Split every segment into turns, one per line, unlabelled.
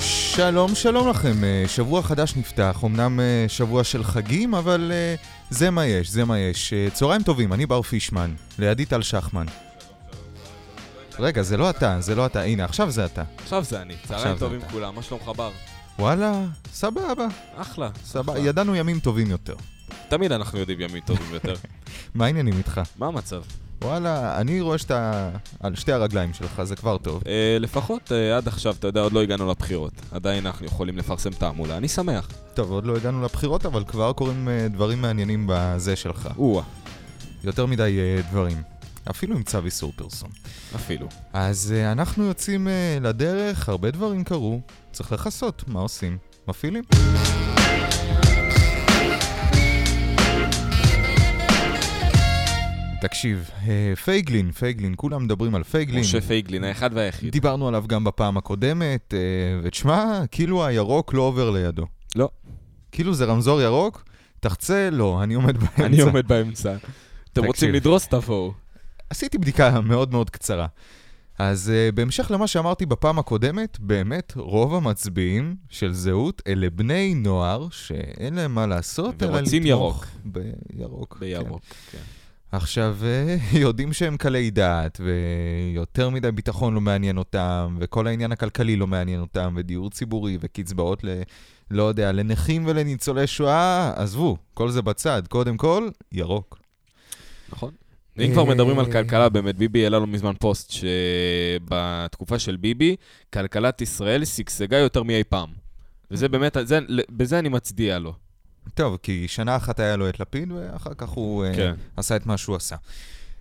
שלום, שלום לכם. אה, שבוע חדש נפתח, אמנם אה, שבוע של חגים, אבל אה, זה מה יש, זה מה יש. אה, צהריים טובים, אני בר פישמן, לידי טל שחמן. רגע, זה לא אתה, זה לא אתה. הנה, עכשיו זה אתה.
עכשיו זה אני,
עכשיו
צהריים
זה
טובים
אתה.
כולם, מה שלומך בר?
וואלה, סבבה,
אחלה.
סבבה.
אחלה.
ידענו ימים טובים יותר.
תמיד אנחנו יודעים ימים טובים יותר.
מה העניינים איתך?
מה המצב?
וואלה, אני רואה שאתה על שתי הרגליים שלך, זה כבר טוב.
אה, לפחות אה, עד עכשיו, אתה יודע, עוד לא הגענו לבחירות. עדיין אנחנו יכולים לפרסם תעמולה, אני שמח.
טוב, עוד לא הגענו לבחירות, אבל כבר קורים אה, דברים מעניינים בזה שלך.
או-אה,
יותר מדי אה, דברים. אפילו עם צו איסור פרסום.
אפילו.
אז אה, אנחנו יוצאים אה, לדרך, הרבה דברים קרו, צריך לכסות, מה עושים? מפעילים? תקשיב, אה, פייגלין, פייגלין, כולם מדברים על פייגלין.
משה פייגלין, האחד והיחיד.
דיברנו עליו גם בפעם הקודמת, אה, ותשמע, כאילו הירוק לא עובר לידו.
לא.
כאילו זה רמזור ירוק, תחצה, לא, אני עומד באמצע.
אני כן, עומד באמצע. אתם רוצים
תקשיב.
לדרוס, תבואו.
עשיתי בדיקה מאוד מאוד קצרה. אז uh, בהמשך למה שאמרתי בפעם הקודמת, באמת רוב המצביעים של זהות אלה בני נוער שאין להם מה לעשות, אלא
ורוצים
לתמוך בירוק.
בירוק. כן.
כן. עכשיו, uh, יודעים שהם קלי דעת, ויותר מדי ביטחון לא מעניין אותם, וכל העניין הכלכלי לא מעניין אותם, ודיור ציבורי, וקצבאות ל... לא יודע, לנכים ולניצולי שואה, עזבו, כל זה בצד. קודם כל, ירוק.
נכון. אם כבר מדברים על
אה,
כלכלה, באמת, ביבי העלה לא מזמן פוסט שבתקופה של ביבי, כלכלת ישראל שגשגה יותר מאי פעם. וזה באמת, זה- בזה אני מצדיע לו.
טוב, כי שנה אחת היה לו את לפיד, ואחר כך הוא אה,
כן.
עשה את מה שהוא עשה.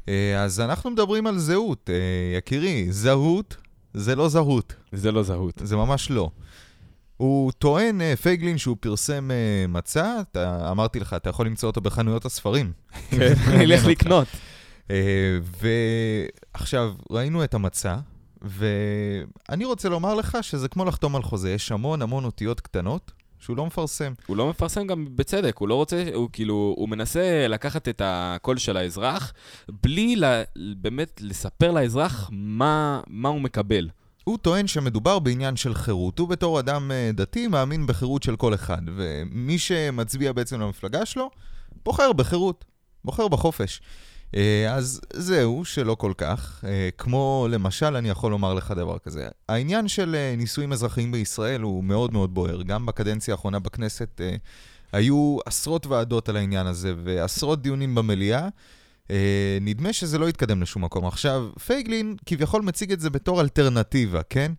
אה, אז אנחנו מדברים על זהות, אה, יקירי, זהות זה לא זהות,
זה לא זהות.
זה ממש לא. הוא טוען, אה, פייגלין, שהוא פרסם אה, מצע, אתה, אמרתי לך, אתה יכול למצוא אותו בחנויות הספרים.
כן, אני אלך לקנות.
אה, ועכשיו, ראינו את המצע, ואני רוצה לומר לך שזה כמו לחתום על חוזה, יש המון המון אותיות קטנות שהוא לא מפרסם.
הוא לא מפרסם גם בצדק, הוא לא רוצה, הוא כאילו, הוא מנסה לקחת את הקול של האזרח, בלי לה, באמת לספר לאזרח מה, מה הוא מקבל.
הוא טוען שמדובר בעניין של חירות. הוא בתור אדם אה, דתי מאמין בחירות של כל אחד, ומי שמצביע בעצם למפלגה שלו, בוחר בחירות, בוחר בחופש. אה, אז זהו, שלא כל כך. אה, כמו למשל, אני יכול לומר לך דבר כזה. העניין של אה, נישואים אזרחיים בישראל הוא מאוד מאוד בוער. גם בקדנציה האחרונה בכנסת אה, היו עשרות ועדות על העניין הזה, ועשרות דיונים במליאה. אה, נדמה שזה לא התקדם לשום מקום. עכשיו, פייגלין כביכול מציג את זה בתור אלטרנטיבה, כן?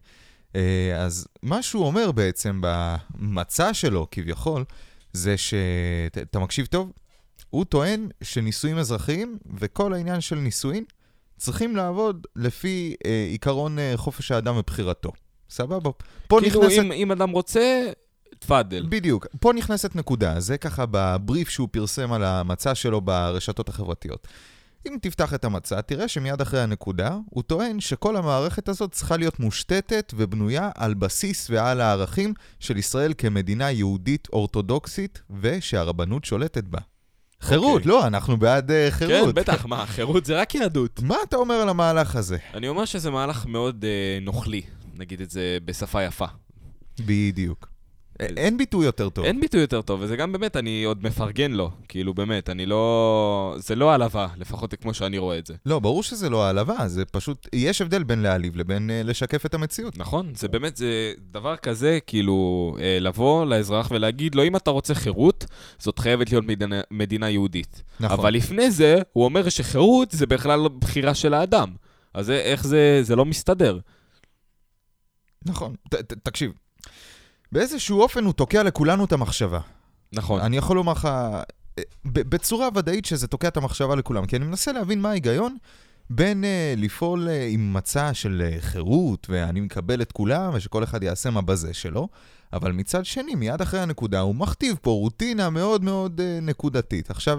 אה, אז מה שהוא אומר בעצם במצע שלו, כביכול, זה ש... ת- אתה מקשיב טוב? הוא טוען שנישואים אזרחיים וכל העניין של נישואין צריכים לעבוד לפי אה, עיקרון אה, חופש האדם ובחירתו. סבבה? פה
כאילו,
נכנסת...
אם, אם אדם רוצה, תפאדל.
בדיוק. פה נכנסת נקודה, זה ככה בבריף שהוא פרסם על המצע שלו ברשתות החברתיות. אם תפתח את המצע, תראה שמיד אחרי הנקודה, הוא טוען שכל המערכת הזאת צריכה להיות מושתתת ובנויה על בסיס ועל הערכים של ישראל כמדינה יהודית אורתודוקסית, ושהרבנות שולטת בה. חירות, לא, אנחנו בעד uh,
אוקיי. כן,
חירות.
בטח, מה, חירות זה רק יהדות.
מה אתה אומר על המהלך הזה?
אני אומר שזה מהלך מאוד אה, נוכלי, נגיד את זה בשפה יפה.
בדיוק. א- אין ביטוי יותר טוב.
אה, אין ביטוי יותר טוב, וזה גם באמת, אני עוד מפרגן לו, כאילו באמת, אני לא... זה לא העלבה, לפחות כמו שאני רואה את זה.
לא, ברור שזה לא העלבה, זה פשוט, יש הבדל בין להעליב לבין אה, לשקף את המציאות.
נכון, זה באמת, זה דבר כזה, כאילו, אה, לבוא לאזרח ולהגיד לו, אם אתה רוצה חירות, זאת חייבת להיות מדינה, מדינה יהודית.
נכון.
אבל לפני זה, הוא אומר שחירות זה בכלל לא בחירה של האדם. אז זה, איך זה, זה לא מסתדר.
נכון, ת, ת, תקשיב. באיזשהו אופן הוא תוקע לכולנו את המחשבה.
נכון.
אני יכול לומר לך, אה, ב- בצורה ודאית שזה תוקע את המחשבה לכולם, כי אני מנסה להבין מה ההיגיון בין uh, לפעול uh, עם מצע של uh, חירות, ואני מקבל את כולם, ושכל אחד יעשה מה בזה שלו, אבל מצד שני, מיד אחרי הנקודה, הוא מכתיב פה רוטינה מאוד מאוד uh, נקודתית. עכשיו,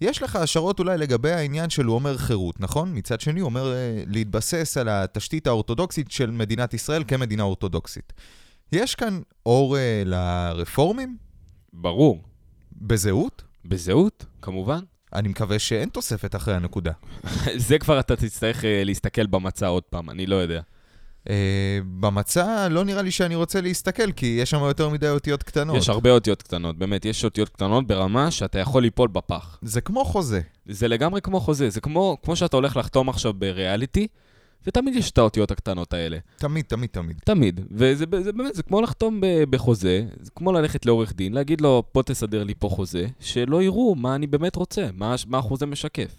יש לך השערות אולי לגבי העניין של הוא אומר חירות, נכון? מצד שני, הוא אומר uh, להתבסס על התשתית האורתודוקסית של מדינת ישראל כמדינה אורתודוקסית. יש כאן אור uh, לרפורמים?
ברור.
בזהות?
בזהות, כמובן.
אני מקווה שאין תוספת אחרי הנקודה.
זה כבר אתה תצטרך אה, להסתכל במצע עוד פעם, אני לא יודע.
אה, במצע לא נראה לי שאני רוצה להסתכל, כי יש שם יותר מדי אותיות קטנות.
יש הרבה אותיות קטנות, באמת, יש אותיות קטנות ברמה שאתה יכול ליפול בפח.
זה כמו חוזה.
זה לגמרי כמו חוזה, זה כמו, כמו שאתה הולך לחתום עכשיו בריאליטי, ותמיד יש את האותיות הקטנות האלה.
תמיד, תמיד, תמיד.
תמיד. וזה ב- זה באמת, זה כמו לחתום ב- בחוזה, זה כמו ללכת לעורך דין, להגיד לו, בוא תסדר לי פה חוזה, שלא יראו מה אני באמת רוצה, מה, הש- מה החוזה משקף.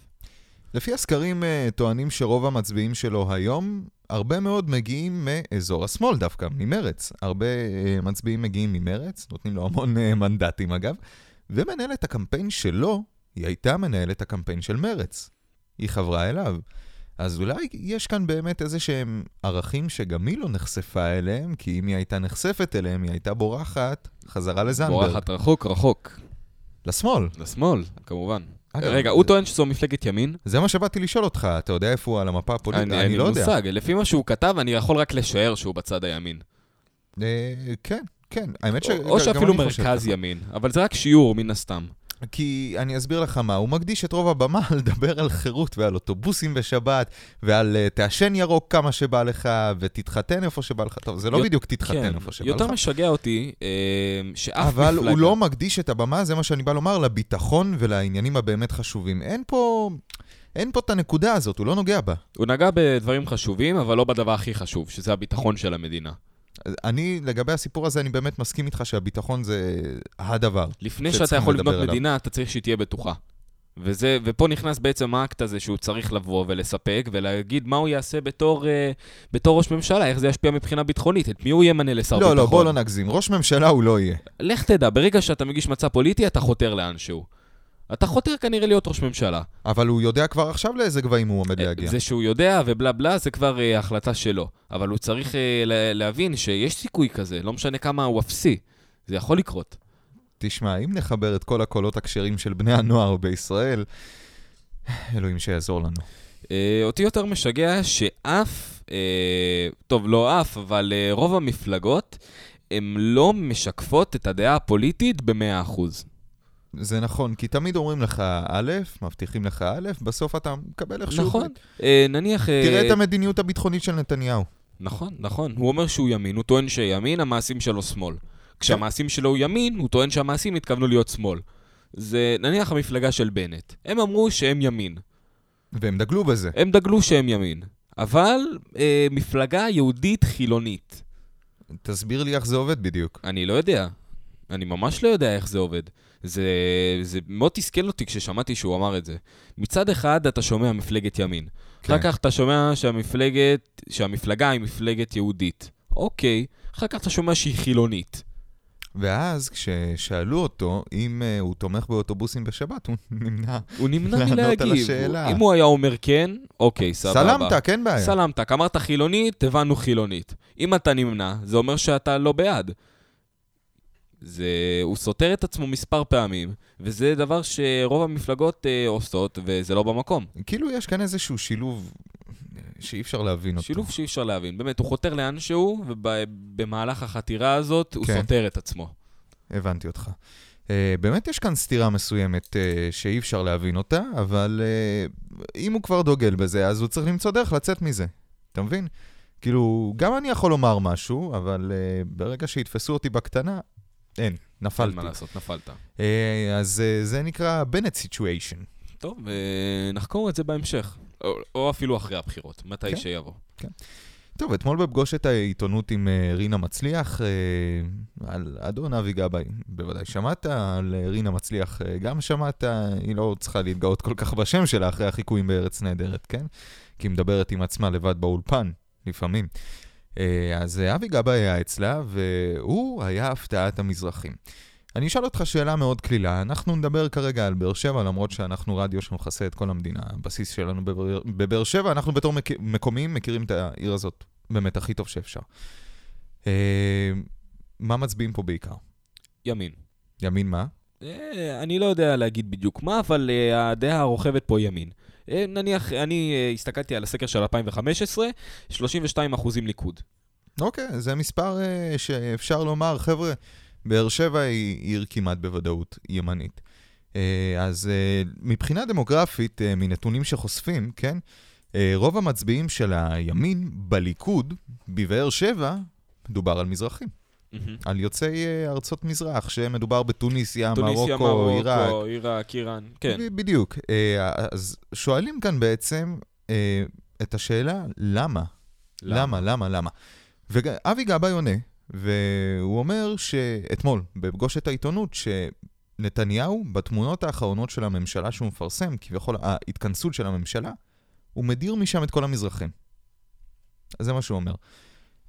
לפי הסקרים אה, טוענים שרוב המצביעים שלו היום, הרבה מאוד מגיעים מאזור השמאל דווקא, ממרץ. הרבה אה, מצביעים מגיעים ממרץ, נותנים לו המון אה, מנדטים אגב, ומנהלת הקמפיין שלו, היא הייתה מנהלת הקמפיין של מרץ. היא חברה אליו. אז אולי יש כאן באמת איזה שהם ערכים שגם היא לא נחשפה אליהם, כי אם היא הייתה נחשפת אליהם, היא הייתה בורחת חזרה לזנדברג.
בורחת רחוק, רחוק.
לשמאל.
לשמאל, כמובן.
אגב,
רגע, הוא טוען שזו מפלגת ימין.
זה מה שבאתי לשאול אותך, אתה יודע איפה הוא על המפה הפוליטית? אני,
אין לי
לא יודע.
מושג, לפי מה שהוא כתב, אני יכול רק לשער שהוא בצד הימין.
אה, כן, כן. האמת ש...
או
גם
שאפילו
אני חושב
מרכז
ככה.
ימין, אבל זה רק שיעור מן הסתם.
כי אני אסביר לך מה, הוא מקדיש את רוב הבמה לדבר על חירות ועל אוטובוסים בשבת, ועל אה, תעשן ירוק כמה שבא לך, ותתחתן איפה שבא לך. טוב, זה לא
יות-
בדיוק תתחתן איפה שבא
כן, יותר
לך.
משגע אותי אה, שאף מפלגה...
אבל הוא לא מקדיש את הבמה, זה מה שאני בא לומר, לביטחון ולעניינים הבאמת חשובים. אין פה... אין פה את הנקודה הזאת, הוא לא נוגע בה.
הוא נגע בדברים חשובים, אבל לא בדבר הכי חשוב, שזה הביטחון של המדינה.
אני, לגבי הסיפור הזה, אני באמת מסכים איתך שהביטחון זה הדבר.
לפני
שצריכים
שאתה יכול
לדבר
לבנות
עליו.
מדינה, אתה צריך שהיא תהיה בטוחה. וזה, ופה נכנס בעצם האקט הזה שהוא צריך לבוא ולספק ולהגיד מה הוא יעשה בתור, אה, בתור ראש ממשלה, איך זה ישפיע מבחינה ביטחונית, את מי הוא ימנה לשר
לא,
ביטחון.
לא, בוא לא נגזים. ראש ממשלה הוא לא יהיה.
לך תדע, ברגע שאתה מגיש מצע פוליטי, אתה חותר לאנשהו. אתה חותר כנראה להיות ראש ממשלה.
אבל הוא יודע כבר עכשיו לאיזה גבהים הוא עומד להגיע.
אה, זה שהוא יודע ובלה בלה, זה כבר אה, החלטה שלו. אבל הוא צריך אה, לה- להבין שיש סיכוי כזה, לא משנה כמה הוא אפסי. זה יכול לקרות.
תשמע, אם נחבר את כל הקולות הכשרים של בני הנוער בישראל, אלוהים שיעזור לנו.
אה, אותי יותר משגע שאף, אה, טוב, לא אף, אבל אה, רוב המפלגות, הן לא משקפות את הדעה הפוליטית ב-100%.
זה נכון, כי תמיד אומרים לך א', מבטיחים לך א', בסוף אתה מקבל איכשהו.
נכון. אה, נניח... אה,
תראה את המדיניות הביטחונית של נתניהו.
נכון, נכון. הוא אומר שהוא ימין, הוא טוען שימין, המעשים שלו שמאל. כשהמעשים שלו הוא ימין, הוא טוען שהמעשים התכוונו להיות שמאל. זה נניח המפלגה של בנט. הם אמרו שהם ימין.
והם דגלו בזה.
הם דגלו שהם ימין. אבל אה, מפלגה יהודית חילונית.
תסביר לי איך זה עובד בדיוק.
אני לא יודע. אני ממש לא יודע איך זה עובד. זה, זה מאוד תסכל אותי כששמעתי שהוא אמר את זה. מצד אחד, אתה שומע מפלגת ימין.
כן.
אחר כך אתה שומע שהמפלגת, שהמפלגה היא מפלגת יהודית. אוקיי. אחר כך אתה שומע שהיא חילונית.
ואז כששאלו אותו אם אה, הוא תומך באוטובוסים בשבת, הוא נמנע.
הוא נמנע
לענות על
מלהגיב.
השאלה.
הוא- אם הוא היה אומר כן, אוקיי, סבבה.
סלמת, כן בעיה.
סלמת. אמרת חילונית, הבנו חילונית. אם אתה נמנע, זה אומר שאתה לא בעד. זה... הוא סותר את עצמו מספר פעמים, וזה דבר שרוב המפלגות אה, עושות, וזה לא במקום.
כאילו יש כאן איזשהו שילוב אה, שאי אפשר להבין אותו.
שילוב שאי אפשר להבין. באמת, הוא חותר לאן שהוא, ובמהלך החתירה הזאת הוא
כן.
סותר את עצמו.
הבנתי אותך. Uh, באמת יש כאן סתירה מסוימת uh, שאי אפשר להבין אותה, אבל uh, אם הוא כבר דוגל בזה, אז הוא צריך למצוא דרך לצאת מזה. אתה מבין? כאילו, גם אני יכול לומר משהו, אבל uh, ברגע שיתפסו אותי בקטנה, אין,
אין
נפלתי.
מה לעשות, נפלת.
Uh, אז uh, זה נקרא בנט סיטואשן.
טוב, אה, נחקור את זה בהמשך. או, או אפילו אחרי הבחירות, מתי
כן.
שיבוא.
טוב, אתמול בפגוש את העיתונות עם אה, רינה מצליח, אה, על אדון אבי גבאי בוודאי שמעת, על אה, רינה מצליח אה, גם שמעת, היא לא צריכה להתגאות כל כך בשם שלה אחרי החיקויים בארץ נהדרת, כן? כי היא מדברת עם עצמה לבד באולפן, לפעמים. אה, אז אה, אבי גבאי היה אצלה, והוא היה הפתעת המזרחים. אני אשאל אותך שאלה מאוד קלילה, אנחנו נדבר כרגע על באר שבע, למרות שאנחנו רדיו שמכסה את כל המדינה, הבסיס שלנו בבאר- בבאר שבע, אנחנו בתור מק... מקומיים מכירים את העיר הזאת באמת הכי טוב שאפשר. אה, מה מצביעים פה בעיקר?
ימין.
ימין מה?
אה, אני לא יודע להגיד בדיוק מה, אבל אה, הדעה הרוכבת פה היא ימין. אה, נניח, אני אה, הסתכלתי על הסקר של 2015, 32 אחוזים ליכוד.
אוקיי, זה מספר אה, שאפשר לומר, חבר'ה, באר שבע היא עיר כמעט בוודאות ימנית. אה, אז אה, מבחינה דמוגרפית, אה, מנתונים שחושפים, כן? אה, רוב המצביעים של הימין בליכוד, בבאר שבע, מדובר על מזרחים.
מהמם.
על יוצאי אה, ארצות מזרח, שמדובר בתוניסיה,
טוניסיה,
מרוקו, עיראק.
מרוקו, עיראק, איראן, כן.
ב- בדיוק. אה, אז שואלים כאן בעצם אה, את השאלה, למה? למה, למה, למה? ואבי גבאי עונה, והוא אומר שאתמול, בפגושת העיתונות, שנתניהו, בתמונות האחרונות של הממשלה שהוא מפרסם, כביכול ההתכנסות של הממשלה, הוא מדיר משם את כל המזרחים. אז זה מה שהוא אומר.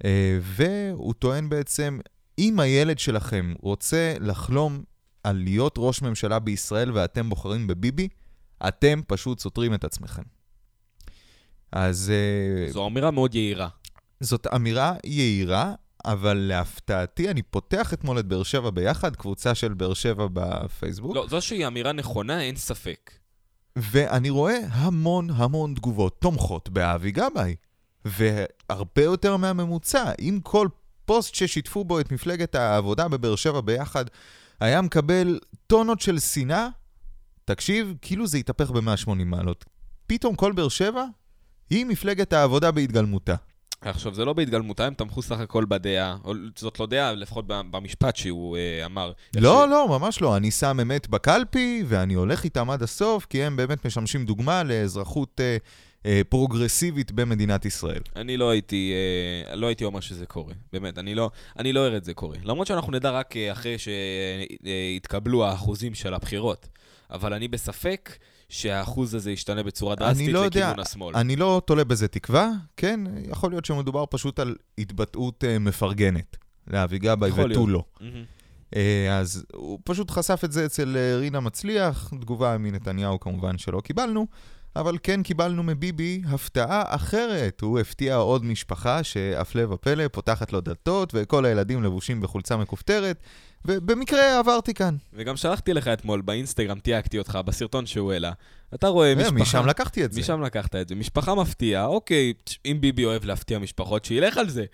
אה, והוא טוען בעצם, אם הילד שלכם רוצה לחלום על להיות ראש ממשלה בישראל ואתם בוחרים בביבי, אתם פשוט סותרים את עצמכם. אז... אה,
זו אמירה מאוד יהירה.
זאת אמירה יהירה, אבל להפתעתי, אני פותח אתמול את באר שבע ביחד, קבוצה של באר שבע בפייסבוק, לא.
לא, זו שהיא אמירה נכונה, אין ספק.
ואני רואה המון המון תגובות תומכות באבי גבאי, והרבה יותר מהממוצע. אם כל פוסט ששיתפו בו את מפלגת העבודה בבאר שבע ביחד היה מקבל טונות של שנאה, תקשיב, כאילו זה התהפך ב-180 מעלות. פתאום כל באר שבע היא מפלגת העבודה בהתגלמותה.
עכשיו, זה לא בהתגלמותה, הם תמכו סך הכל בדעה, או זאת לא דעה, לפחות במשפט שהוא אה, אמר.
לא, לא, ממש לא. אני שם אמת בקלפי, ואני הולך איתם עד הסוף, כי הם באמת משמשים דוגמה לאזרחות אה, אה, פרוגרסיבית במדינת ישראל.
אני לא הייתי, אה, לא הייתי אומר שזה קורה, באמת, אני לא, אני לא אראה את זה קורה. למרות שאנחנו נדע רק אה, אחרי שהתקבלו האחוזים של הבחירות, אבל אני בספק שהאחוז הזה ישתנה בצורה דרסטית
לא יודע,
לכיוון השמאל.
אני לא תולה בזה תקווה, כן? יכול להיות שמדובר פשוט על התבטאות אה, מפרגנת לאבי גבאי
יכול
ותו
להיות.
לא.
מהמם.
אה, אז הוא פשוט חשף את זה אצל אה, רינה מצליח, תגובה מנתניהו כמובן שלא קיבלנו, אבל כן קיבלנו מביבי הפתעה אחרת. הוא הפתיע עוד משפחה שהפלא ופלא פותחת לו דלתות, וכל הילדים לבושים בחולצה מכופתרת, ובמקרה עברתי כאן.
וגם שלחתי לך אתמול באינסטגרם, תייגתי אותך, בסרטון שהוא העלה. אתה רואה משפחה...
אה, משם לקחתי את זה.
משם לקחת את זה. משפחה מפתיעה, אוקיי, צ', אם ביבי אוהב להפתיע משפחות, שילך על זה.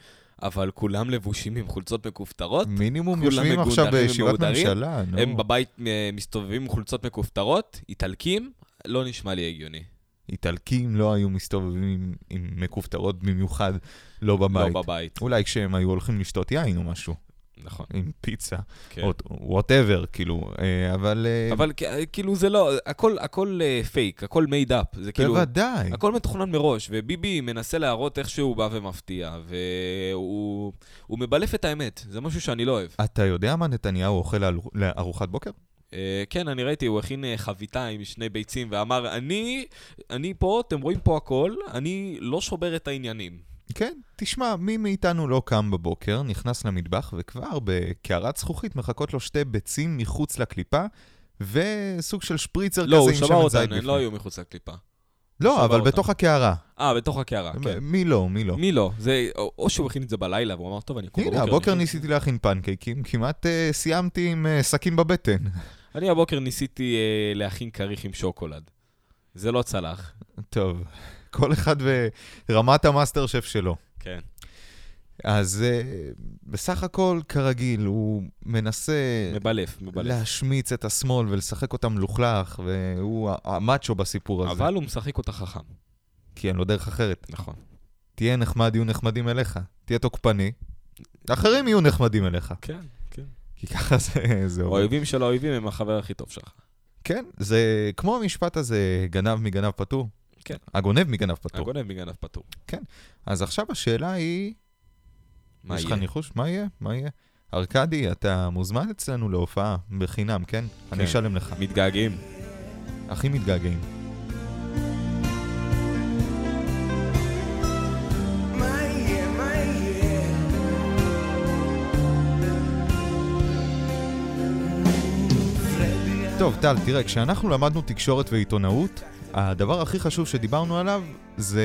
אבל כולם לבושים עם חולצות מכופתרות?
מינימום
כולם
יושבים עכשיו
מגונדרים
בישיבת
ומהודרים,
ממשלה, נו.
הם בבית אה, מסתובבים עם חולצות מכופתרות, איטלקים, לא נשמע לי הגיוני.
איטלקים לא היו מסתובבים עם- עם מכופתרות במיוחד, לא בבית.
לא בבית.
אולי כשהם היו הולכים לשתות יין או משהו,
נכון,
עם פיצה.
כן.
וואטאבר, כאילו, אה, אבל... אה,
אבל כ- כאילו זה לא, הכל, הכל אה, פייק, הכל מייד אפ. זה כאילו,
בוודאי.
הכל מתוכנן מראש, וביבי מנסה להראות איך שהוא בא ומפתיע, והוא הוא מבלף את האמת, זה משהו שאני לא אוהב.
אתה יודע מה נתניהו אוכל לארו- לארוחת בוקר?
אה, כן, אני ראיתי, הוא הכין אה, חביתה עם שני ביצים ואמר, אני, אני פה, אתם רואים פה הכל, אני לא שובר את העניינים.
כן, תשמע, מי מאיתנו לא קם בבוקר, נכנס למטבח, וכבר בקערת זכוכית מחכות לו שתי ביצים מחוץ לקליפה, וסוג של שפריצר
לא,
כזה
הוא
עם
שמר
שמן
אותן,
זית
הן
בפנים.
לא היו מחוץ לקליפה.
לא,
שמר
אבל
אותן.
בתוך הקערה.
אה, בתוך הקערה, כן.
מי לא, מי לא.
מי לא? זה, או או שהוא הכין את זה בלילה, והוא אמר, טוב, אני אקום
הנה,
בבוקר.
הבוקר
אני-
ניסיתי להכין פנקייקים, כמעט אה, סיימתי עם אה, סכין בבטן.
אני הבוקר ניסיתי אה, להכין כריך עם שוקולד. זה לא צלח.
טוב, כל אחד ורמת המאסטר שף שלו.
כן.
אז אה, בסך הכל, כרגיל, הוא מנסה
מבלף, מבלף.
להשמיץ את השמאל ולשחק אותה מלוכלך, והוא ה- המאצ'ו בסיפור הזה.
אבל הוא משחק אותה חכם.
כי אין לו דרך אחרת.
נכון.
תהיה נחמד, יהיו נחמדים אליך. תהיה תוקפני, אחרים יהיו נחמדים אליך.
כן, כן.
כי ככה זה, זה עובד.
האויבים של האויבים הם החבר הכי טוב שלך.
כן, זה כמו המשפט הזה, גנב מגנב פטור.
כן.
הגונב מגנב פטור.
הגונב מגנב פטור.
אז עכשיו השאלה היא,
מה
יש לך
יהיה?
ניחוש? מה יהיה? מה יהיה? ארקדי, אתה מוזמן אצלנו להופעה, בחינם, כן? אני אשלם לך.
מתגעגעים.
הכי מתגעגעים.
מה יהיה, מה יהיה? פרדי,
טוב, טל, תראה, כשאנחנו למדנו תקשורת ועיתונאות, הדבר הכי חשוב שדיברנו עליו זה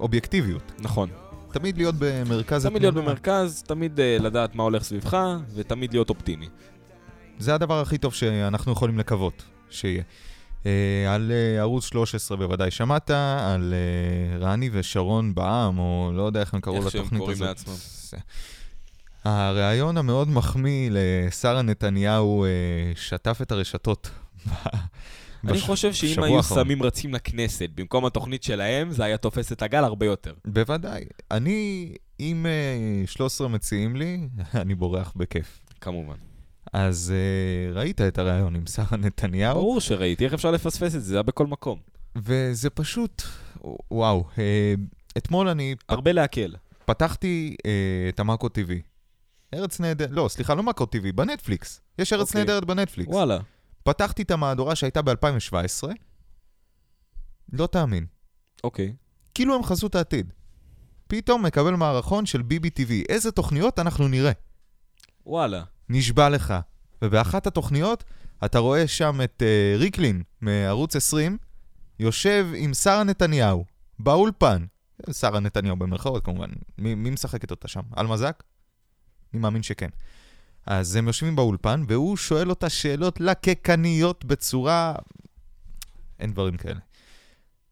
אובייקטיביות.
נכון.
תמיד להיות במרכז
תמיד להיות במרכז, תמיד אה, לדעת מה הולך סביבך, ותמיד להיות אופטימי.
זה הדבר הכי טוב שאנחנו יכולים לקוות שיהיה. אה, על אה, ערוץ 13 בוודאי שמעת, על אה, רני ושרון בעם, או לא יודע איך הם קראו
איך שהם
לתוכנית הזאת.
קוראים לעצמם.
הריאיון המאוד מחמיא לשרה נתניהו אה, שטף את הרשתות
אני
בש-
חושב שאם
בשבוע
היו
האחרון.
סמים רצים לכנסת במקום התוכנית שלהם, זה היה תופס את הגל הרבה יותר.
בוודאי. אני, אם אה, 13 מציעים לי, אני בורח בכיף.
כמובן.
אז אה, ראית את הריאיון עם שרה נתניהו,
ברור שראיתי, איך אפשר לפספס את זה? זה היה בכל מקום.
וזה פשוט, וואו. אה, אתמול אני פ-
הרבה להקל.
פתחתי אה, את המאקו TV. ארץ נהדרת, לא, סליחה, לא מאקו TV, בנטפליקס. יש ארץ
אוקיי.
נהדרת בנטפליקס.
וואלה.
פתחתי את המהדורה שהייתה ב-2017, לא תאמין.
אוקיי.
כאילו הם חזו את העתיד. פתאום מקבל מערכון של ביבי TV. איזה תוכניות אנחנו נראה?
וואלה.
נשבע לך. ובאחת התוכניות אתה רואה שם את uh, ריקלין מערוץ 20, יושב עם שרה נתניהו, באולפן. שרה נתניהו במרכאות כמובן, מי, מי משחקת אותה שם? עלמה זק? אני מאמין שכן. אז הם יושבים באולפן, והוא שואל אותה שאלות לקקניות בצורה... אין דברים כאלה.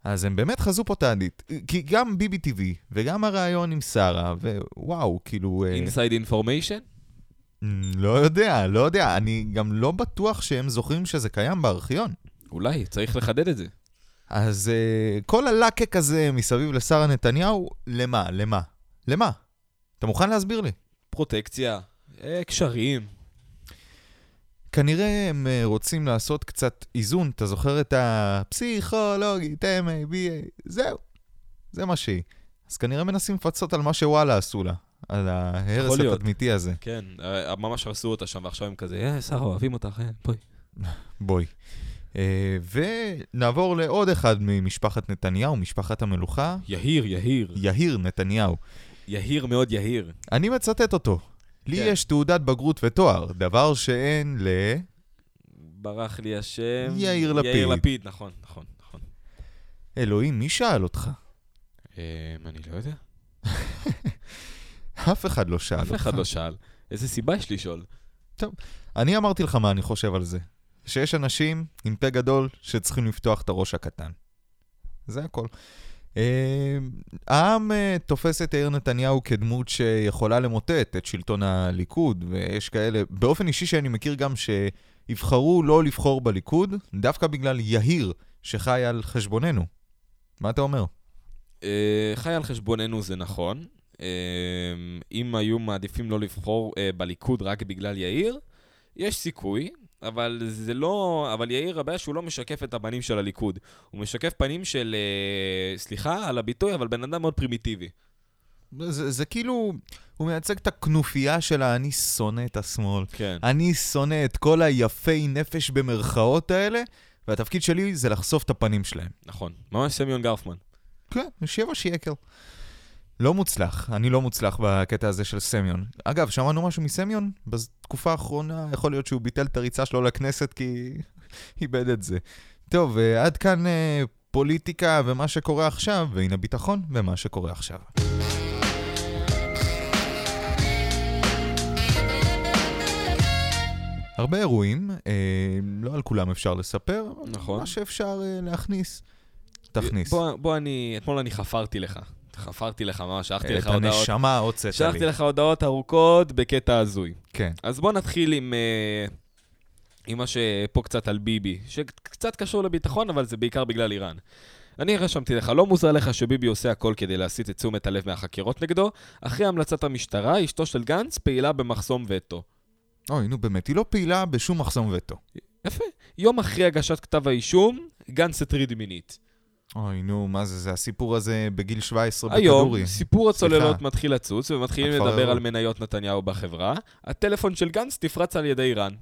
אז הם באמת חזו פה תעדית. כי גם ביבי טבעי, וגם הריאיון עם שרה, ווואו, כאילו... אה,
אינסייד אינפורמיישן?
אמ, לא יודע, לא יודע. אני גם לא בטוח שהם זוכרים שזה קיים בארכיון.
אולי, צריך לחדד את זה.
אז uh, כל הלקק הזה מסביב לשרה נתניהו, למה? למה? למה? אתה מוכן להסביר לי?
פרוטקציה, אה, קשרים.
כנראה הם אה, רוצים לעשות קצת איזון, אתה זוכר את הפסיכולוגית, MABA, זהו, זה מה שהיא. אז כנראה מנסים לפצות על מה שוואלה עשו לה, על ההרס
יכול להיות.
התדמיתי הזה.
כן, אה, ממש הרסו אותה שם, ועכשיו הם כזה, אה, שרה, אוהבים אותך, אה, בואי.
בואי. אה, ונעבור לעוד אחד ממשפחת נתניהו, משפחת המלוכה,
יהיר, יהיר.
יהיר נתניהו.
יהיר מאוד יהיר.
אני מצטט אותו. לי
כן.
יש תעודת בגרות ותואר, דבר שאין ל...
ברח לי השם.
יאיר
יאיר
לפיד.
לפיד, נכון, נכון, נכון.
אלוהים, מי שאל אותך?
אה, אני לא יודע.
אף אחד לא שאל
אף
אותך.
אחד לא שאל. איזה סיבה יש לשאול?
אני אמרתי לך מה אני חושב על זה. שיש אנשים עם פה גדול שצריכים לפתוח את הראש הקטן. זה הכל. אה, העם אה, תופס את יאיר נתניהו כדמות שיכולה למוטט את שלטון הליכוד, ויש כאלה, באופן אישי שאני מכיר גם שיבחרו לא לבחור בליכוד, דווקא בגלל יהיר שחי על חשבוננו. מה אתה אומר?
אה, חי על חשבוננו זה נכון. אה, אם היו מעדיפים לא לבחור אה, בליכוד רק בגלל יאיר, יש סיכוי, אבל זה לא... אבל יאיר, הבעיה שהוא לא משקף את הפנים של הליכוד. הוא משקף פנים של... אה, סליחה על הביטוי, אבל בן אדם מאוד פרימיטיבי.
זה, זה כאילו, הוא מייצג את הכנופיה של ה"אני שונא את השמאל".
כן.
אני שונא את כל היפי נפש במרכאות האלה, והתפקיד שלי זה לחשוף את הפנים שלהם.
נכון. ממש סמיון גרפמן.
כן, שבע שקל. לא מוצלח, אני לא מוצלח בקטע הזה של סמיון. אגב, שמענו משהו מסמיון? בתקופה האחרונה יכול להיות שהוא ביטל את הריצה שלו לכנסת כי איבד את זה. טוב, אה, עד כאן אה, פוליטיקה ומה שקורה עכשיו, והנה ביטחון ומה שקורה עכשיו. הרבה אירועים, אה, לא על כולם אפשר לספר, אבל
נכון.
מה שאפשר אה, להכניס, תכניס.
בוא, בוא אני... אתמול אני חפרתי לך. חפרתי לך ממש, שלחתי לך
אה, את
הודעות.
הנשמה הוצאת
שלחתי
לי.
לך הודעות ארוכות בקטע הזוי.
כן.
אז בואו נתחיל עם, אה, עם מה שפה קצת על ביבי, שקצת קשור לביטחון, אבל זה בעיקר בגלל איראן. אני רשמתי לך, לא מוזר לך שביבי עושה הכל כדי להסיט את תשומת הלב מהחקירות נגדו, אחרי המלצת המשטרה, אשתו של גנץ פעילה במחסום וטו.
אוי, נו באמת, היא לא פעילה בשום מחסום וטו.
יפה. יום אחרי הגשת כתב האישום, גנץ הטריד מינית.
אוי, נו, מה זה, זה הסיפור הזה בגיל 17 בכדורי.
היום, סיפור הצוללות
סליחה.
מתחיל לצוץ, ומתחילים
התפררות.
לדבר על מניות נתניהו בחברה. הטלפון של גנץ נפרץ על ידי איראן.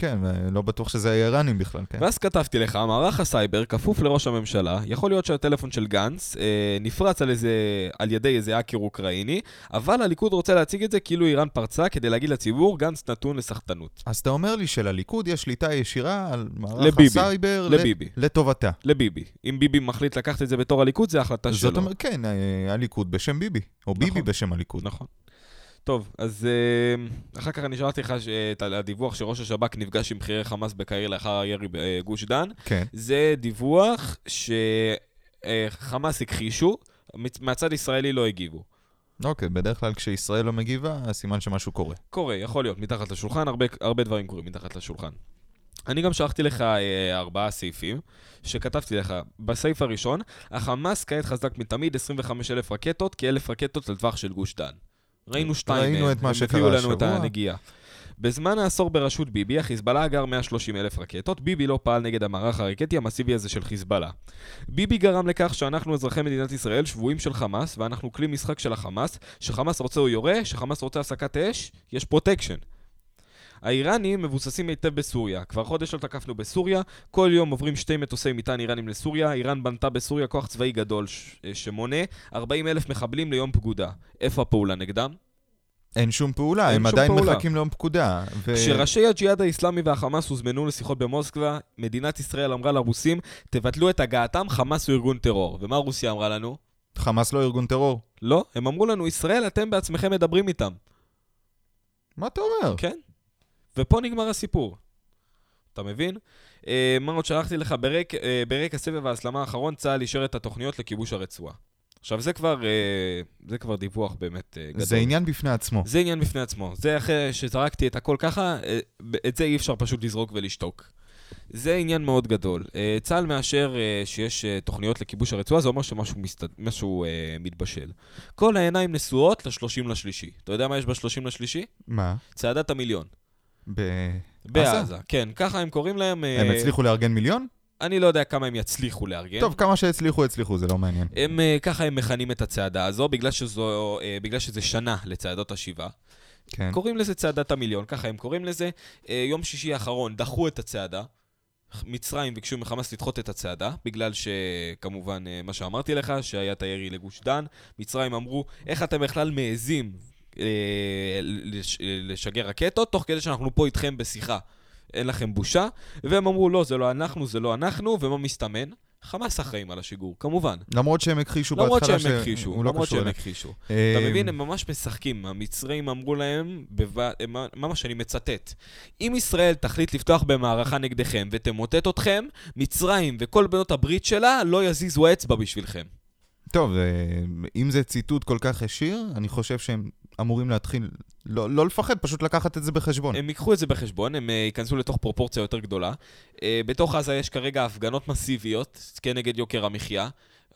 כן, אה, לא בטוח שזה האיראנים בכלל, כן.
ואז כתבתי לך, מערך הסייבר כפוף לראש הממשלה, יכול להיות שהטלפון של גנץ אה, נפרץ על, איזה, על ידי איזה האקר אוקראיני, אבל הליכוד רוצה להציג את זה כאילו איראן פרצה כדי להגיד לציבור, גנץ נתון לסחטנות.
אז אתה אומר לי שלליכוד יש שליטה ישירה על מערך
לביבי.
הסייבר
לביבי.
ל- לטובתה.
לביבי. אם ביבי מחליט לקחת את זה בתור הליכוד, זה החלטה שלו.
זאת אומרת, כן, אה, הליכוד בשם ביבי, או ביבי
נכון.
בשם הליכוד.
נכון. טוב, אז אה, אחר כך אני שלחתי לך ש- את הדיווח שראש השב"כ נפגש עם בכירי חמאס בקהיר לאחר הירי בגוש דן.
כן.
זה דיווח שחמאס הכחישו, מצ- מהצד ישראלי לא הגיבו.
אוקיי, בדרך כלל כשישראל לא מגיבה, סימן שמשהו קורה.
קורה, יכול להיות, מתחת לשולחן, הרבה, הרבה דברים קורים מתחת לשולחן. אני גם שלחתי לך אה, ארבעה סעיפים, שכתבתי לך. בסעיף הראשון, החמאס כעת חזק מתמיד, 25,000 רקטות, כ-1,000 רקטות לטווח של גוש דן. ראינו שתיים
ראינו
מהם,
את מה
הם
שקרה
הביאו לנו את
השבוע.
הנגיעה. בזמן העשור בראשות ביבי, החיזבאללה אגר 130,000 רקטות, ביבי לא פעל נגד המערך הרקטי המסיבי הזה של חיזבאללה. ביבי גרם לכך שאנחנו אזרחי מדינת ישראל שבויים של חמאס, ואנחנו כלי משחק של החמאס, שחמאס רוצה הוא יורה, שחמאס רוצה הפסקת אש, יש פרוטקשן. האיראנים מבוססים היטב בסוריה. כבר חודש לא תקפנו בסוריה, כל יום עוברים שתי מטוסי מטען איראנים לסוריה, איראן בנתה בסוריה כוח צבאי גדול ש- אה, שמונה 40 אלף מחבלים ליום פקודה. איפה הפעולה נגדם?
אין שום פעולה,
אין
הם
שום
עדיין
פעולה.
מחכים ליום פקודה. ו-
כשראשי הג'יהאד האיסלאמי והחמאס הוזמנו לשיחות במוסקבה, מדינת ישראל אמרה לרוסים, תבטלו את הגעתם, חמאס הוא ארגון טרור. ומה רוסיה אמרה לנו?
חמאס לא ארגון טרור.
לא, הם אמרו לנו, ישראל, אתם בעצמכם מדברים איתם.
מה אתה אומר?
כן. ופה נגמר הסיפור. אתה מבין? אה, מה עוד שלחתי לך? ברק, אה, ברקע סבב ההסלמה האחרון, צה"ל אישר את התוכניות לכיבוש הרצועה. עכשיו, זה כבר, אה, זה כבר דיווח באמת אה, גדול.
זה עניין בפני עצמו.
זה עניין בפני עצמו. זה אחרי שזרקתי את הכל ככה, אה, את זה אי אפשר פשוט לזרוק ולשתוק. זה עניין מאוד גדול. אה, צה"ל מאשר אה, שיש אה, תוכניות לכיבוש הרצועה, זה אומר שמשהו מסתד... משהו, אה, מתבשל. כל העיניים נשואות ל-30 לשלישי. אתה יודע מה יש ב-30 לשלישי?
מה?
צעדת המיליון.
ב- עזה?
בעזה. כן, ככה הם קוראים להם. אה,
הם הצליחו לארגן מיליון?
אני לא יודע כמה הם יצליחו לארגן.
טוב, כמה שהצליחו, הצליחו, זה לא מעניין.
הם, כן. אה, ככה הם מכנים את הצעדה הזו, בגלל, שזו, אה, בגלל שזה שנה לצעדות השבעה.
כן.
קוראים לזה צעדת המיליון, ככה הם קוראים לזה. אה, יום שישי האחרון דחו את הצעדה. מצרים ביקשו מחמאס לדחות את הצעדה, בגלל שכמובן אה, מה שאמרתי לך, שהיה את הירי לגוש דן. מצרים אמרו, איך אתם בכלל מעזים אה, לש, אה, לשגר רקטות, תוך כדי שאנחנו פה איתכם בשיחה. אין לכם בושה. והם אמרו, לא, זה לא אנחנו, זה לא אנחנו, ומה מסתמן? חמאס אחראים על השיגור, כמובן.
למרות שהם הכחישו
למרות
בהתחלה
שהם
שהוא
הכחישו,
לא
למרות
קשור
שהם
אליהם.
הכחישו.
אה,
אתה מבין, הם ממש משחקים. המצרים אמרו להם, בו... הם- ממש אני מצטט, אם ישראל תחליט לפתוח במערכה נגדכם ותמוטט אתכם, מצרים וכל בנות הברית שלה לא יזיזו אצבע בשבילכם.
טוב, אה, אם זה ציטוט כל כך ישיר, אני חושב שהם אמורים להתחיל, לא לא לפחד, פשוט לקחת את זה בחשבון.
הם ייקחו את זה בחשבון, הם אה, ייכנסו לתוך פרופורציה יותר גדולה. אה, בתוך עזה יש כרגע הפגנות מסיביות כנגד יוקר המחיה.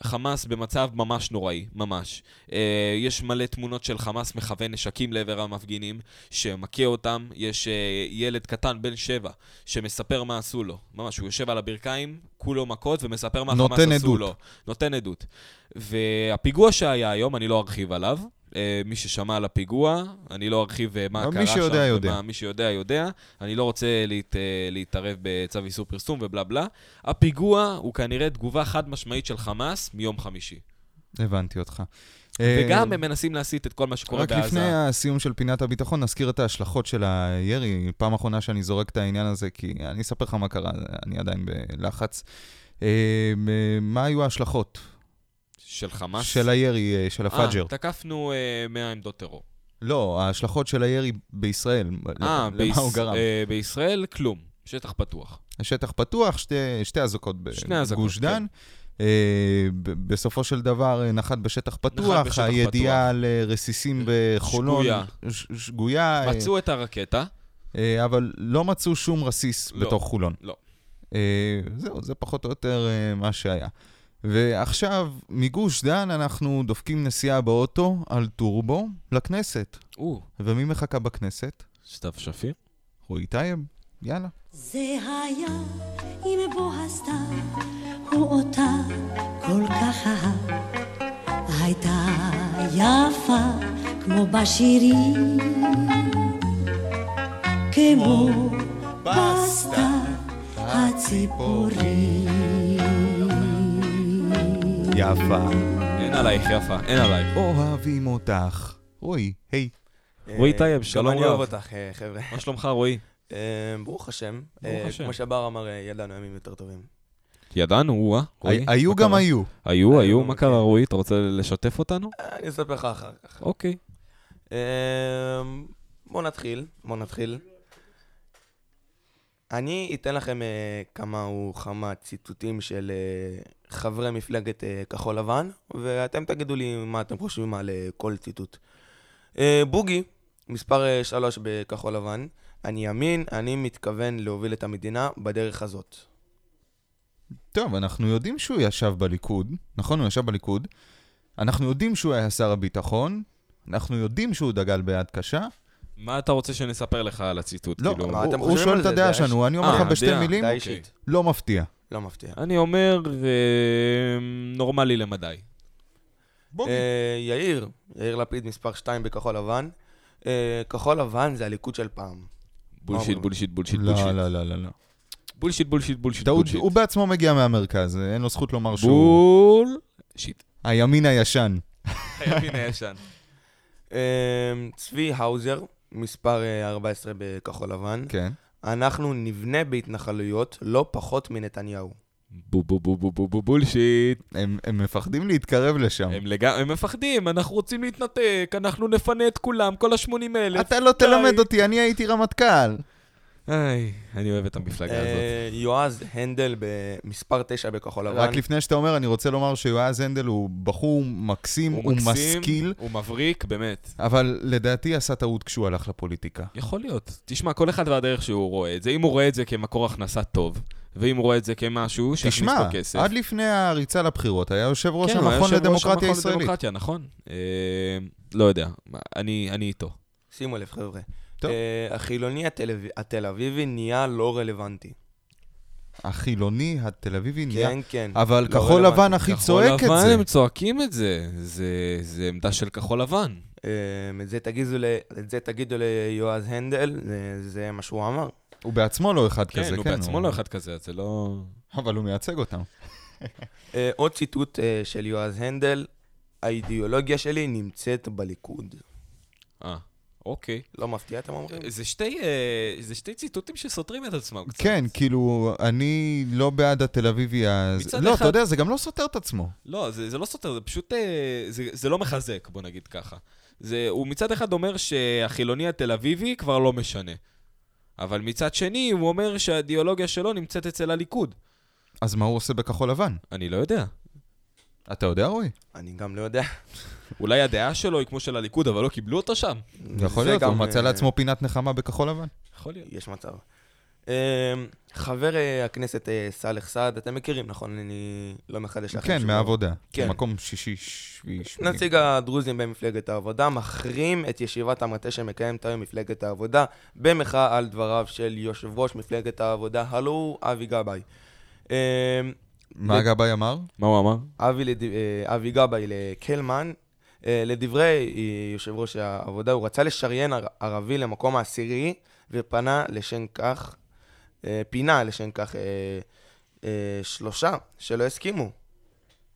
חמאס במצב ממש נוראי, ממש. אה, יש מלא תמונות של חמאס מכוון נשקים לעבר המפגינים, שמכה אותם. יש אה, ילד קטן, בן שבע, שמספר מה עשו לו. ממש, הוא יושב על הברכיים, כולו מכות, ומספר מה חמאס
נותן
עשו
עדות.
לו. נותן עדות. והפיגוע שהיה היום, אני לא ארחיב עליו. אה, מי ששמע על הפיגוע, אני לא ארחיב אה, מה
אבל
קרה
מי
שם.
שיודע,
ומה-
יודע.
מי שיודע, יודע. אני לא רוצה להת, אה, להתערב בצו איסור פרסום ובלה בלה. הפיגוע הוא כנראה תגובה חד משמעית של חמאס מיום חמישי.
הבנתי אותך.
וגם הם מנסים להסיט את כל מה שקורה
אה, רק
בעזה.
לפני הסיום של פינת הביטחון, נזכיר את ההשלכות של הירי. פעם אחרונה שאני זורק את העניין הזה, כי אני אספר לך מה קרה, אני עדיין בלחץ. אה, אה, מה היו ההשלכות
של חמאס.
של הירי, אה, של הפאג'ר?
אה, תקפנו אה, 100 עמדות טרור.
לא, ההשלכות של הירי בישראל, ל-
אה, ביש-
לא, למה הוא גרם?
אה, בישראל, כלום. שטח פתוח.
השטח פתוח, שתי, שתי אזעקות
שני אזעקות,
בגוש
כן.
דן. אה, ב- בסופו של דבר אה, נחת בשטח פתוח,
בשטח
הידיעה
פתוח.
על אה, רסיסים בחולון
שגויה.
ש- שגויה אה,
מצאו את הרקטה.
אה, אבל לא מצאו שום רסיס
לא,
בתוך חולון.
לא.
אה, זהו, זה פחות או יותר אה, מה שהיה. ועכשיו, מגוש דן אנחנו דופקים נסיעה באוטו על טורבו לכנסת.
או,
ומי מחכה בכנסת?
סתיו שפיר.
רועי טייב, יאללה.
זה היה עם בוא הסתיו, הוא אותה כל כך אהב. הייתה יפה כמו בשירים, כמו בסתיו הציפורים.
יפה.
אין עלייך, יפה, אין עלייך.
אוהבים אותך. רועי, היי.
רועי טייב, שלום
אה, גם אני אוהב
רב.
אותך, אה, חבר'ה.
מה שלומך, רועי?
אה, ברוך השם.
ברוך
אה,
השם.
כמו שבר אמר, אה, ידענו ימים יותר טובים.
ידענו, או-אה. רועי,
הי- היו
מה
גם
קרה?
היו. אה,
היו, היו,
היו,
מה
אוקיי.
קרה, רועי? אתה רוצה לשתף אותנו?
אה, אני אספר לך אחר כך.
אוקיי.
אה, בואו נתחיל, בואו נתחיל. אני אתן לכם אה, כמה וכמה ציטוטים של אה, חברי מפלגת אה, כחול לבן, ואתם תגידו לי מה אתם חושבים על אה, כל ציטוט. אה, בוגי, מספר 3 אה, בכחול לבן, אני ימין, אני מתכוון להוביל את המדינה בדרך הזאת.
טוב, אנחנו יודעים שהוא ישב בליכוד, נכון? הוא ישב בליכוד. אנחנו יודעים שהוא היה שר הביטחון. אנחנו יודעים שהוא דגל ביד קשה.
מה אתה רוצה שנספר לך על הציטוט?
לא,
כאילו?
מה
הוא-
אתם
הוא
חושבים
שואל
על
את
זה?
הדעה
דעה
שלנו, אני אומר
אה,
לך בשתי
דעה,
מילים,
דעה אישית.
לא מפתיע.
לא מפתיע.
אני אומר, אה, נורמלי למדי.
אה, יאיר, יאיר לפיד מספר 2 בכחול לבן. אה, כחול לבן זה הליכוד של פעם.
בולשיט,
אומרים?
בולשיט, בולשיט, בולשיט.
לא, לא, לא, לא, לא.
בולשיט, בולשיט, בולשיט,
דאוד,
בולשיט.
הוא בעצמו מגיע מהמרכז, אה, אין לו זכות לומר שהוא
בול... שיט.
הימין הישן.
הימין הישן.
אה, צבי האוזר, מספר אה, 14 בכחול לבן.
כן.
אנחנו נבנה בהתנחלויות לא פחות מנתניהו.
בו בו בו בו בו בו בולשיט.
הם הם מפחדים להתקרב לשם.
הם לגמרי, הם מפחדים, אנחנו רוצים להתנתק, אנחנו נפנה את כולם, כל ה-80 אלף.
אתה לא תלמד אותי, אני הייתי רמטכ"ל.
איי, אני אוהב את המפלגה הזאת.
אה, יועז הנדל במספר 9 בכחול לבן.
רק לפני שאתה אומר, אני רוצה לומר שיועז הנדל הוא בחור מקסים, הוא
מקסים,
משכיל,
הוא מבריק, באמת.
אבל לדעתי עשה טעות כשהוא הלך לפוליטיקה.
יכול להיות. תשמע, כל אחד והדרך שהוא רואה את זה. אם הוא רואה את זה כמקור הכנסה טוב, ואם הוא רואה את זה כמשהו שיכניס
תשמע,
לו כסף.
עד לפני הריצה לבחירות היה יושב ראש
כן, הוא היה
המכון
יושב-ראש
לדמוקרטיה
המכון
הישראלית.
לדמוקרטיה, נכון. אה, לא יודע, אני אני איתו.
שימו לב, חבר'ה.
טוב.
אה, החילוני התל- התל אביבי נהיה לא רלוונטי.
החילוני התל אביבי נהיה...
כן, כן.
אבל
לא
כחול
רלוונטי.
לבן הכי צועק את
כחול לבן
זה.
הם צועקים את זה. זה- זה עמדה של כחול לבן.
אה, את זה תגידו ל- את זה תגידו ליועז הנדל, זה- זה מה שהוא אמר.
הוא בעצמו לא אחד כזה,
כן,
כן.
הוא בעצמו לא אחד כזה, אז זה לא...
אבל הוא מייצג אותם.
אה, עוד ציטוט אה, של יועז הנדל, האידיאולוגיה שלי נמצאת בליכוד.
אה, אוקיי.
לא מפתיע, אתם אומרים?
זה שתי, אה, זה שתי ציטוטים שסותרים את עצמם קצת.
כן, כאילו, אני לא בעד התל אביבי אז...
מצד
לא,
אחד-
אתה יודע, זה גם לא סותר את עצמו.
לא, זה, זה לא סותר, זה פשוט... אה, זה, זה לא מחזק, בוא נגיד ככה. זה, הוא מצד אחד אומר שהחילוני התל אביבי כבר לא משנה. אבל מצד שני, הוא אומר שהאידיאולוגיה שלו נמצאת אצל הליכוד.
אז מה הוא עושה בכחול לבן?
אני לא יודע.
אתה יודע, רועי?
אני גם לא יודע.
אולי הדעה שלו היא כמו של הליכוד, אבל לא קיבלו אותו שם.
יכול
זה
להיות, הוא
גם,
מצא
אה,
לעצמו פינת נחמה בכחול לבן.
יכול להיות.
יש מצב. אה, חבר אה, הכנסת אה, סאלח סעד, אתם מכירים, נכון? אני לא מחדש לכם.
כן,
שום דבר.
מהעבודה.
כן.
מקום שישי, שביעי, שמיני.
נציג הדרוזים במפלגת העבודה מחרים את ישיבת המטה שמקיימת היום מפלגת העבודה במחאה על דבריו של יושב ראש מפלגת העבודה, הלו הוא אבי גבאי. אה,
מה גבאי אמר?
מה הוא
לא
אמר?
אבי, לד... אה, אבי גבאי לקלמן, אה, לדברי אה, יושב ראש העבודה, הוא רצה לשריין ער- ערבי למקום העשירי ופנה לשם כך, אה, פינה לשם כך אה, אה, שלושה שלא הסכימו,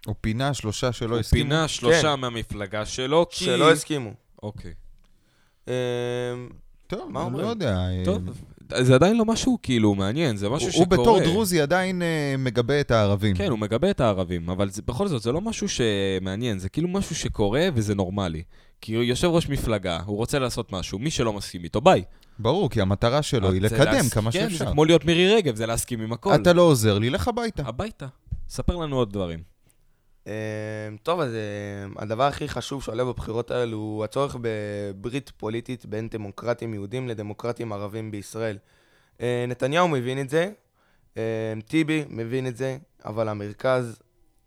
הוא פינה שלושה שלא
הוא
הסכימו.
פינה שלושה מהמפלגה שלו, כי...
שלא הסכימו.
אוקיי.
אה,
טוב,
מה
אני
אומרים?
לא יודע. אה,
טוב, זה עדיין לא משהו כאילו מעניין, זה משהו
הוא-
שקורה.
הוא בתור דרוזי עדיין אה, מגבה את הערבים.
כן, הוא מגבה את הערבים, אבל זה, בכל זאת, זה לא משהו שמעניין, זה כאילו משהו שקורה וזה נורמלי. כי הוא יושב ראש מפלגה, הוא רוצה לעשות משהו, מי שלא מסכים איתו, ביי.
ברור, כי המטרה שלו היא
זה
לקדם
להס-
כמה
כן,
שאפשר.
זה כמו להיות מירי רגב, זה להסכים עם הכל.
אתה לא עוזר לי, לך הביתה.
הביתה. ספר לנו עוד דברים.
אמ, טוב, אז אמ, הדבר הכי חשוב שעולה בבחירות האלו הוא הצורך בברית פוליטית בין דמוקרטים יהודים לדמוקרטים ערבים בישראל. אה, נתניהו מבין את זה, אמ, טיבי מבין את זה, אבל המרכז,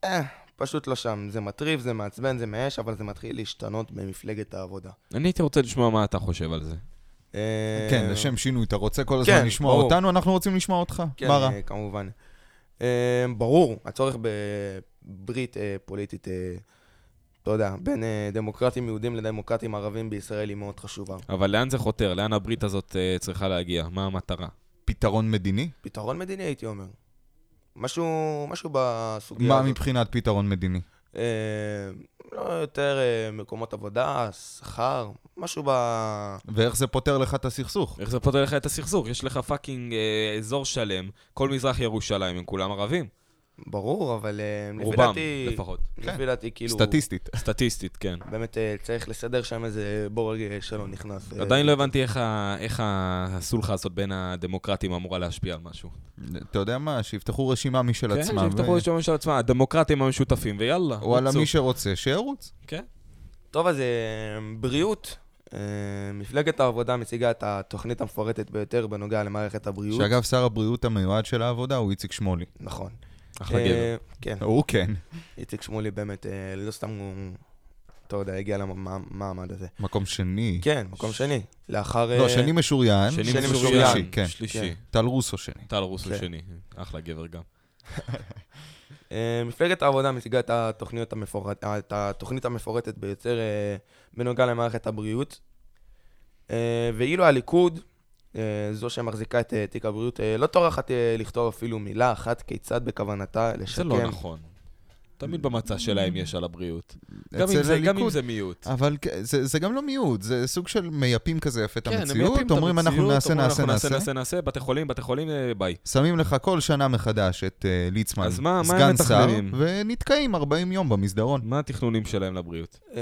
אה, פשוט לא שם. זה מטריף, זה מעצבן, זה מאש, אבל זה מתחיל להשתנות במפלגת העבודה.
אני הייתי רוצה לשמוע מה אתה חושב על זה.
אמ,
אה,
כן, לשם שינוי, אתה רוצה כל
כן,
הזמן לשמוע
ברור.
אותנו, אנחנו רוצים לשמוע אותך.
כן,
מה רע?
אה, כמובן. אה, ברור, הצורך בברית אה, פוליטית, אה, אתה יודע, בין אה, דמוקרטים יהודים לדמוקרטים ערבים בישראל היא מאוד חשובה.
אבל לאן זה חותר? לאן הברית הזאת אה, צריכה להגיע? מה המטרה?
פתרון מדיני?
פתרון מדיני, הייתי אומר. משהו, משהו בסוגיה
מה
הזאת.
מבחינת פתרון מדיני?
אה, לא יותר אה, מקומות עבודה, שכר, משהו ב...
ואיך זה פותר לך את הסכסוך?
איך זה פותר לך את הסכסוך? יש לך פאקינג אה, אזור שלם, כל מזרח ירושלים הם כולם ערבים.
ברור, אבל אה, לפי
רובם,
דעתי...
לפחות.
כן.
לפי דעתי, כאילו...
סטטיסטית.
סטטיסטית, כן.
באמת אה, צריך לסדר שם איזה בורג אה, שלא נכנס. אה,
עדיין לא הבנתי איך ה- איך הסולחה הזאת בין הדמוקרטים אמורה להשפיע על משהו.
אתה יודע מה? שיפתחו רשימה משל
כן,
עצמם.
שיפתחו
ו-
רשימה של עצמם, הדמוקרטים המשותפים, ויאללה.
וואלה,
רוצו.
מי שרוצה, שירוץ.
כן.
טוב, אז אה, בריאות. אה, מפלגת העבודה מציגה את התוכנית המפורטת ביותר בנוגע למערכת הבריאות.
שאגב, שר הבריאות המיועד של העבודה הוא איציק שמולי.
נכון.
אחלה
אה,
גבר.
כן,
הוא כן.
איציק שמולי באמת, אה, לא סתם הוא, אתה יודע, הגיע למעמד הזה.
מקום שני.
כן, מקום שני. לאחר...
לא,
אה,
שני משוריין.
שני
שני
משוריין,
משוריין,
כן.
שלישי.
טל רוסו שני.
טל רוסו
כן.
שני, אחלה גבר גם.
אה, מפלגת העבודה מציגה את, התוכניות המפורט, אה, את התוכנית המפורטת ביותר אה, בנוגע למערכת הבריאות. אה, ואילו הליכוד, אה, זו שמחזיקה את אה, תיק הבריאות, אה, לא טורחת אה, לכתוב אפילו מילה אחת כיצד בכוונתה
זה
אה,
לשקם.
לא
כן.
נכון. תמיד במצע שלהם יש על הבריאות.
אצל
גם אם זה- גם אם
הליכוד. אה,
זה מיעוט.
אבל כ- זה זה גם לא מיעוט, זה סוג של מייפים כזה יפה את
כן, הם
המציאות,
מייפים את
אומרים אנחנו
המציאות,
נעשה,
אומרים,
נעשה,
אנחנו
נעשה,
נעשה, נעשה, בתי חולים, בתי חולים, אה, ביי.
שמים לך כל שנה מחדש את אה, ליצמן,
אז מה- מה הם
סגן שר,
מתכננים?
ונתקעים 40 יום במסדרון.
מה התכנונים שלהם לבריאות?
אה,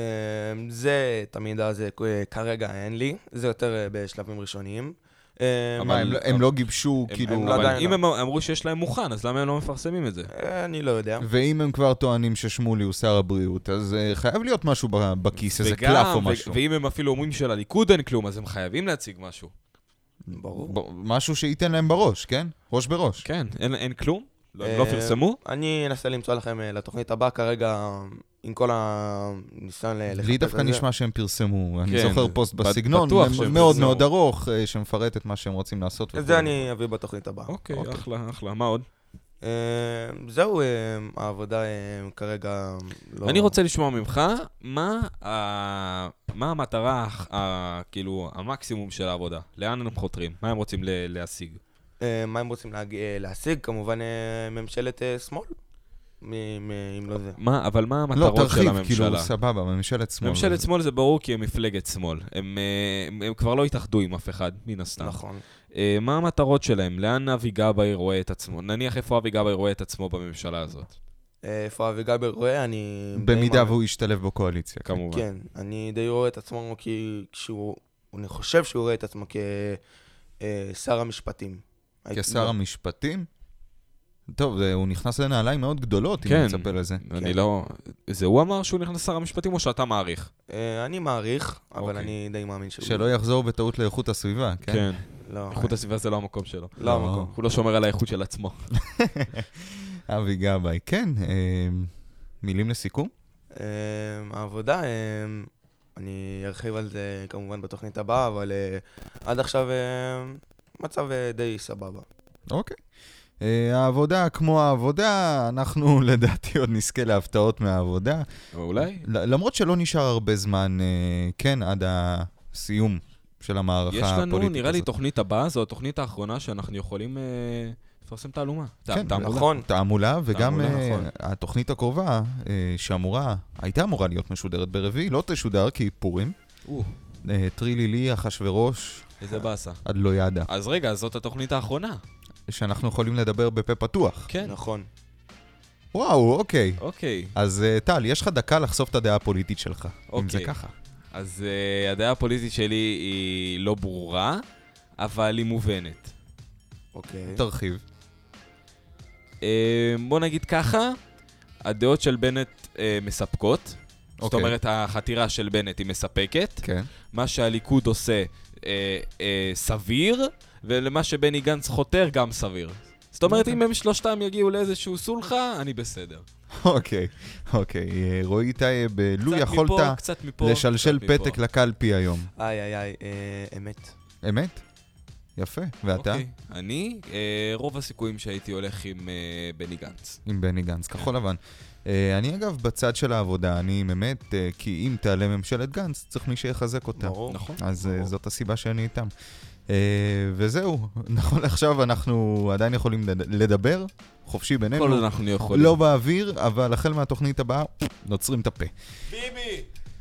זה, את המידע הזה אה, כרגע אין לי, זה יותר אה, בשלבים ראשוניים. אה,
אבל-
מה, הם לא- הם לא גיבשו,
הם-
כאילו...
הם-
לא
אבל
עדיין
אם
לא.
הם אמרו שיש להם מוכן, אז למה הם לא מפרסמים את זה?
אה, אני לא יודע.
ואם הם כבר טוענים ששמולי הוא שר הבריאות, אז אה, חייב להיות משהו ב- בכיס, איזה
וגם-
קלף או
ו-
משהו.
ואם הם אפילו אומרים שלליכוד אין כלום, אז הם חייבים להציג משהו.
ברור.
ב- משהו שייתן להם בראש, כן? ראש בראש.
כן, אין- אין כלום? לא- הם לא
אה,
פרסמו?
אני אנסה למצוא לכם אה, לתוכנית הבאה כרגע, עם כל הניסיון ל- לחפש
לי דווקא
את זה.
נשמע שהם פרסמו, אני
כן,
זוכר פוסט
ב-
בסגנון,
בטוח
מ-
שהם
מאוד
פרסמו.
מאוד ארוך, אה, שמפרט את מה שהם רוצים לעשות.
את
וכו'.
זה אני אביא בתוכנית הבאה.
אוקיי, אחלה, אחלה, מה עוד?
אה, זהו, אה, העבודה אה, כרגע לא...
אני רוצה לשמוע ממך, מה ה- מה המטרה, הח- ה- כאילו, המקסימום של העבודה? לאן הם חותרים? מה הם רוצים ל- להשיג?
אה, מה הם רוצים להג- אה, להשיג? כמובן אה, ממשלת אה, שמאל, מ- מ- אם לא זה.
מה, אבל מה
לא,
המטרות של
תרחיב,
הממשלה?
כאילו, סבבה, ממשלת שמאל.
ממשלת שמאל זה ברור כי הם מפלגת שמאל. הם, אה, הם, הם כבר לא התאחדו עם אף אחד, מן הסתם.
נכון.
אה, מה המטרות שלהם? לאן אבי גבאי רואה את עצמו? נניח איפה אבי גבאי רואה את עצמו בממשלה הזאת,
אה, איפה אבי גבר רואה? אני... די
במידה
מאמין.
והוא ישתלב בקואליציה. כן.
כמובן.
כן, אני די רואה את עצמו כי כשהוא... אני חושב שהוא רואה את עצמו כשר המשפטים. לא. הייתי-
כשר המשפטים? טוב, זה- הוא נכנס לנעליים מאוד גדולות, אם
כן.
נצפה לזה.
אני
כן.
לא... זה הוא אמר שהוא נכנס שר המשפטים או שאתה מעריך?
אה, אני מעריך, אבל
אוקיי.
אני די מאמין שהוא...
שלא יחזור בטעות לאיכות הסביבה, כן?
לא,
איכות הסביבה זה לא המקום שלו.
לא המקום.
הוא לא שומר על האיכות של עצמו.
אבי גבאי, כן. אה, מילים לסיכום?
אמ, העבודה, אמ, אני ארחיב על זה כמובן בתוכנית הבאה, אבל אה, עד עכשיו אמ, מצב אה, די סבבה.
אוקיי. אה, העבודה כמו העבודה, אנחנו לדעתי עוד נזכה להפתעות מהעבודה.
אולי?
ל- למרות שלא נשאר הרבה זמן, אה, כן, עד הסיום של המערכה
יש
הפוליטית הזאת.
לנו, נראה לי, תוכנית הבאה, זו התוכנית האחרונה שאנחנו יכולים אה, לפרסם תעלומה.
כן,
תעמולה.
נכון.
תעמולה, וגם
תעמולה,
אה,
נכון.
התוכנית הקרובה, אה, שאמורה, הייתה אמורה להיות משודרת ברביעי, לא תשודר כי פורים.
או,
אה, טרילי לי, אחשורוש,
איזה באסה.
עד לא ידע.
אז רגע, אז זאת התוכנית האחרונה.
שאנחנו יכולים לדבר בפה פתוח.
כן.
נכון.
וואו, אוקיי.
אוקיי,
אז אה, טל, יש לך דקה לחשוף את הדעה הפוליטית שלך, אם זה
אוקיי.
ככה.
אז uh, הדעה הפוליטית שלי היא לא ברורה, אבל היא מובנת. אה?
אוקיי.
תרחיב.
Uh, בוא נגיד ככה, הדעות של בנט uh, מספקות. Okay. זאת
אוקיי.
אומרת, החתירה של בנט היא מספקת.
כן.
מה שהליכוד עושה אה, אה, סביר, ולמה שבני גנץ חותר גם סביר. זאת אומרת, אם הם שלושתם יגיעו לאיזשהו סולחה, אני בסדר.
אוקיי, אוקיי. אה, רועי טייב, אה, לו
קצת
יכולת
מפה, קצת מפה,
לשלשל
קצת מפה.
פתק לקלפי היום.
איי, איי, איי, אה, אמת.
אמת? יפה. ואתה?
אוקיי. אני, אה, רוב הסיכויים שהייתי הולך עם אה, בני גנץ.
עם בני גנץ, כחול לבן. אה, אני אגב בצד של העבודה, אני באמת, אה, כי אם תעלה ממשלת גנץ, צריך מי שיחזק אותה.
ברור.
נכון?
אז אה, זאת הסיבה שאני איתם. אה, וזהו, נכון לעכשיו אנחנו עדיין יכולים לד- לדבר, חופשי בינינו.
כל עוד אנחנו יכולים.
לא באוויר, אבל החל מהתוכנית הבאה, נוצרים את הפה.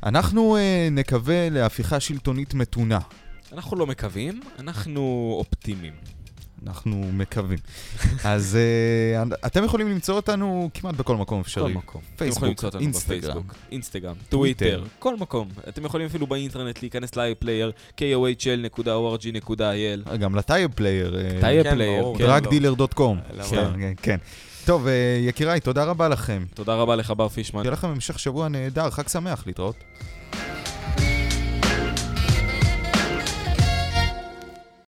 אנחנו אה, נקווה להפיכה שלטונית מתונה.
אנחנו לא מקווים, אנחנו אופטימיים.
אנחנו מקווים. אז אה, אתם יכולים למצוא אותנו כמעט בכל מקום
כל
אפשרי.
מקום. אתם
פייסבוק,
יכולים למצוא אותנו
אינסטגרם.
בפייסבוק, אינסטגרם,
טוויטר.
טוויטר, כל מקום. אתם יכולים אפילו באינטרנט להיכנס ל-iPlayer, kohl.org.il.
אה, גם לטייב פלייר. אה,
טייב
כן,
פלייר,
ברור.
כן.
רק-
drugdealer.com.
למה?
כן, כן, כן. טוב, אה, יקיריי, תודה רבה לכם.
תודה רבה לך, בר פישמן.
שיהיה לכם המשך שבוע נהדר, חג שמח, להתראות.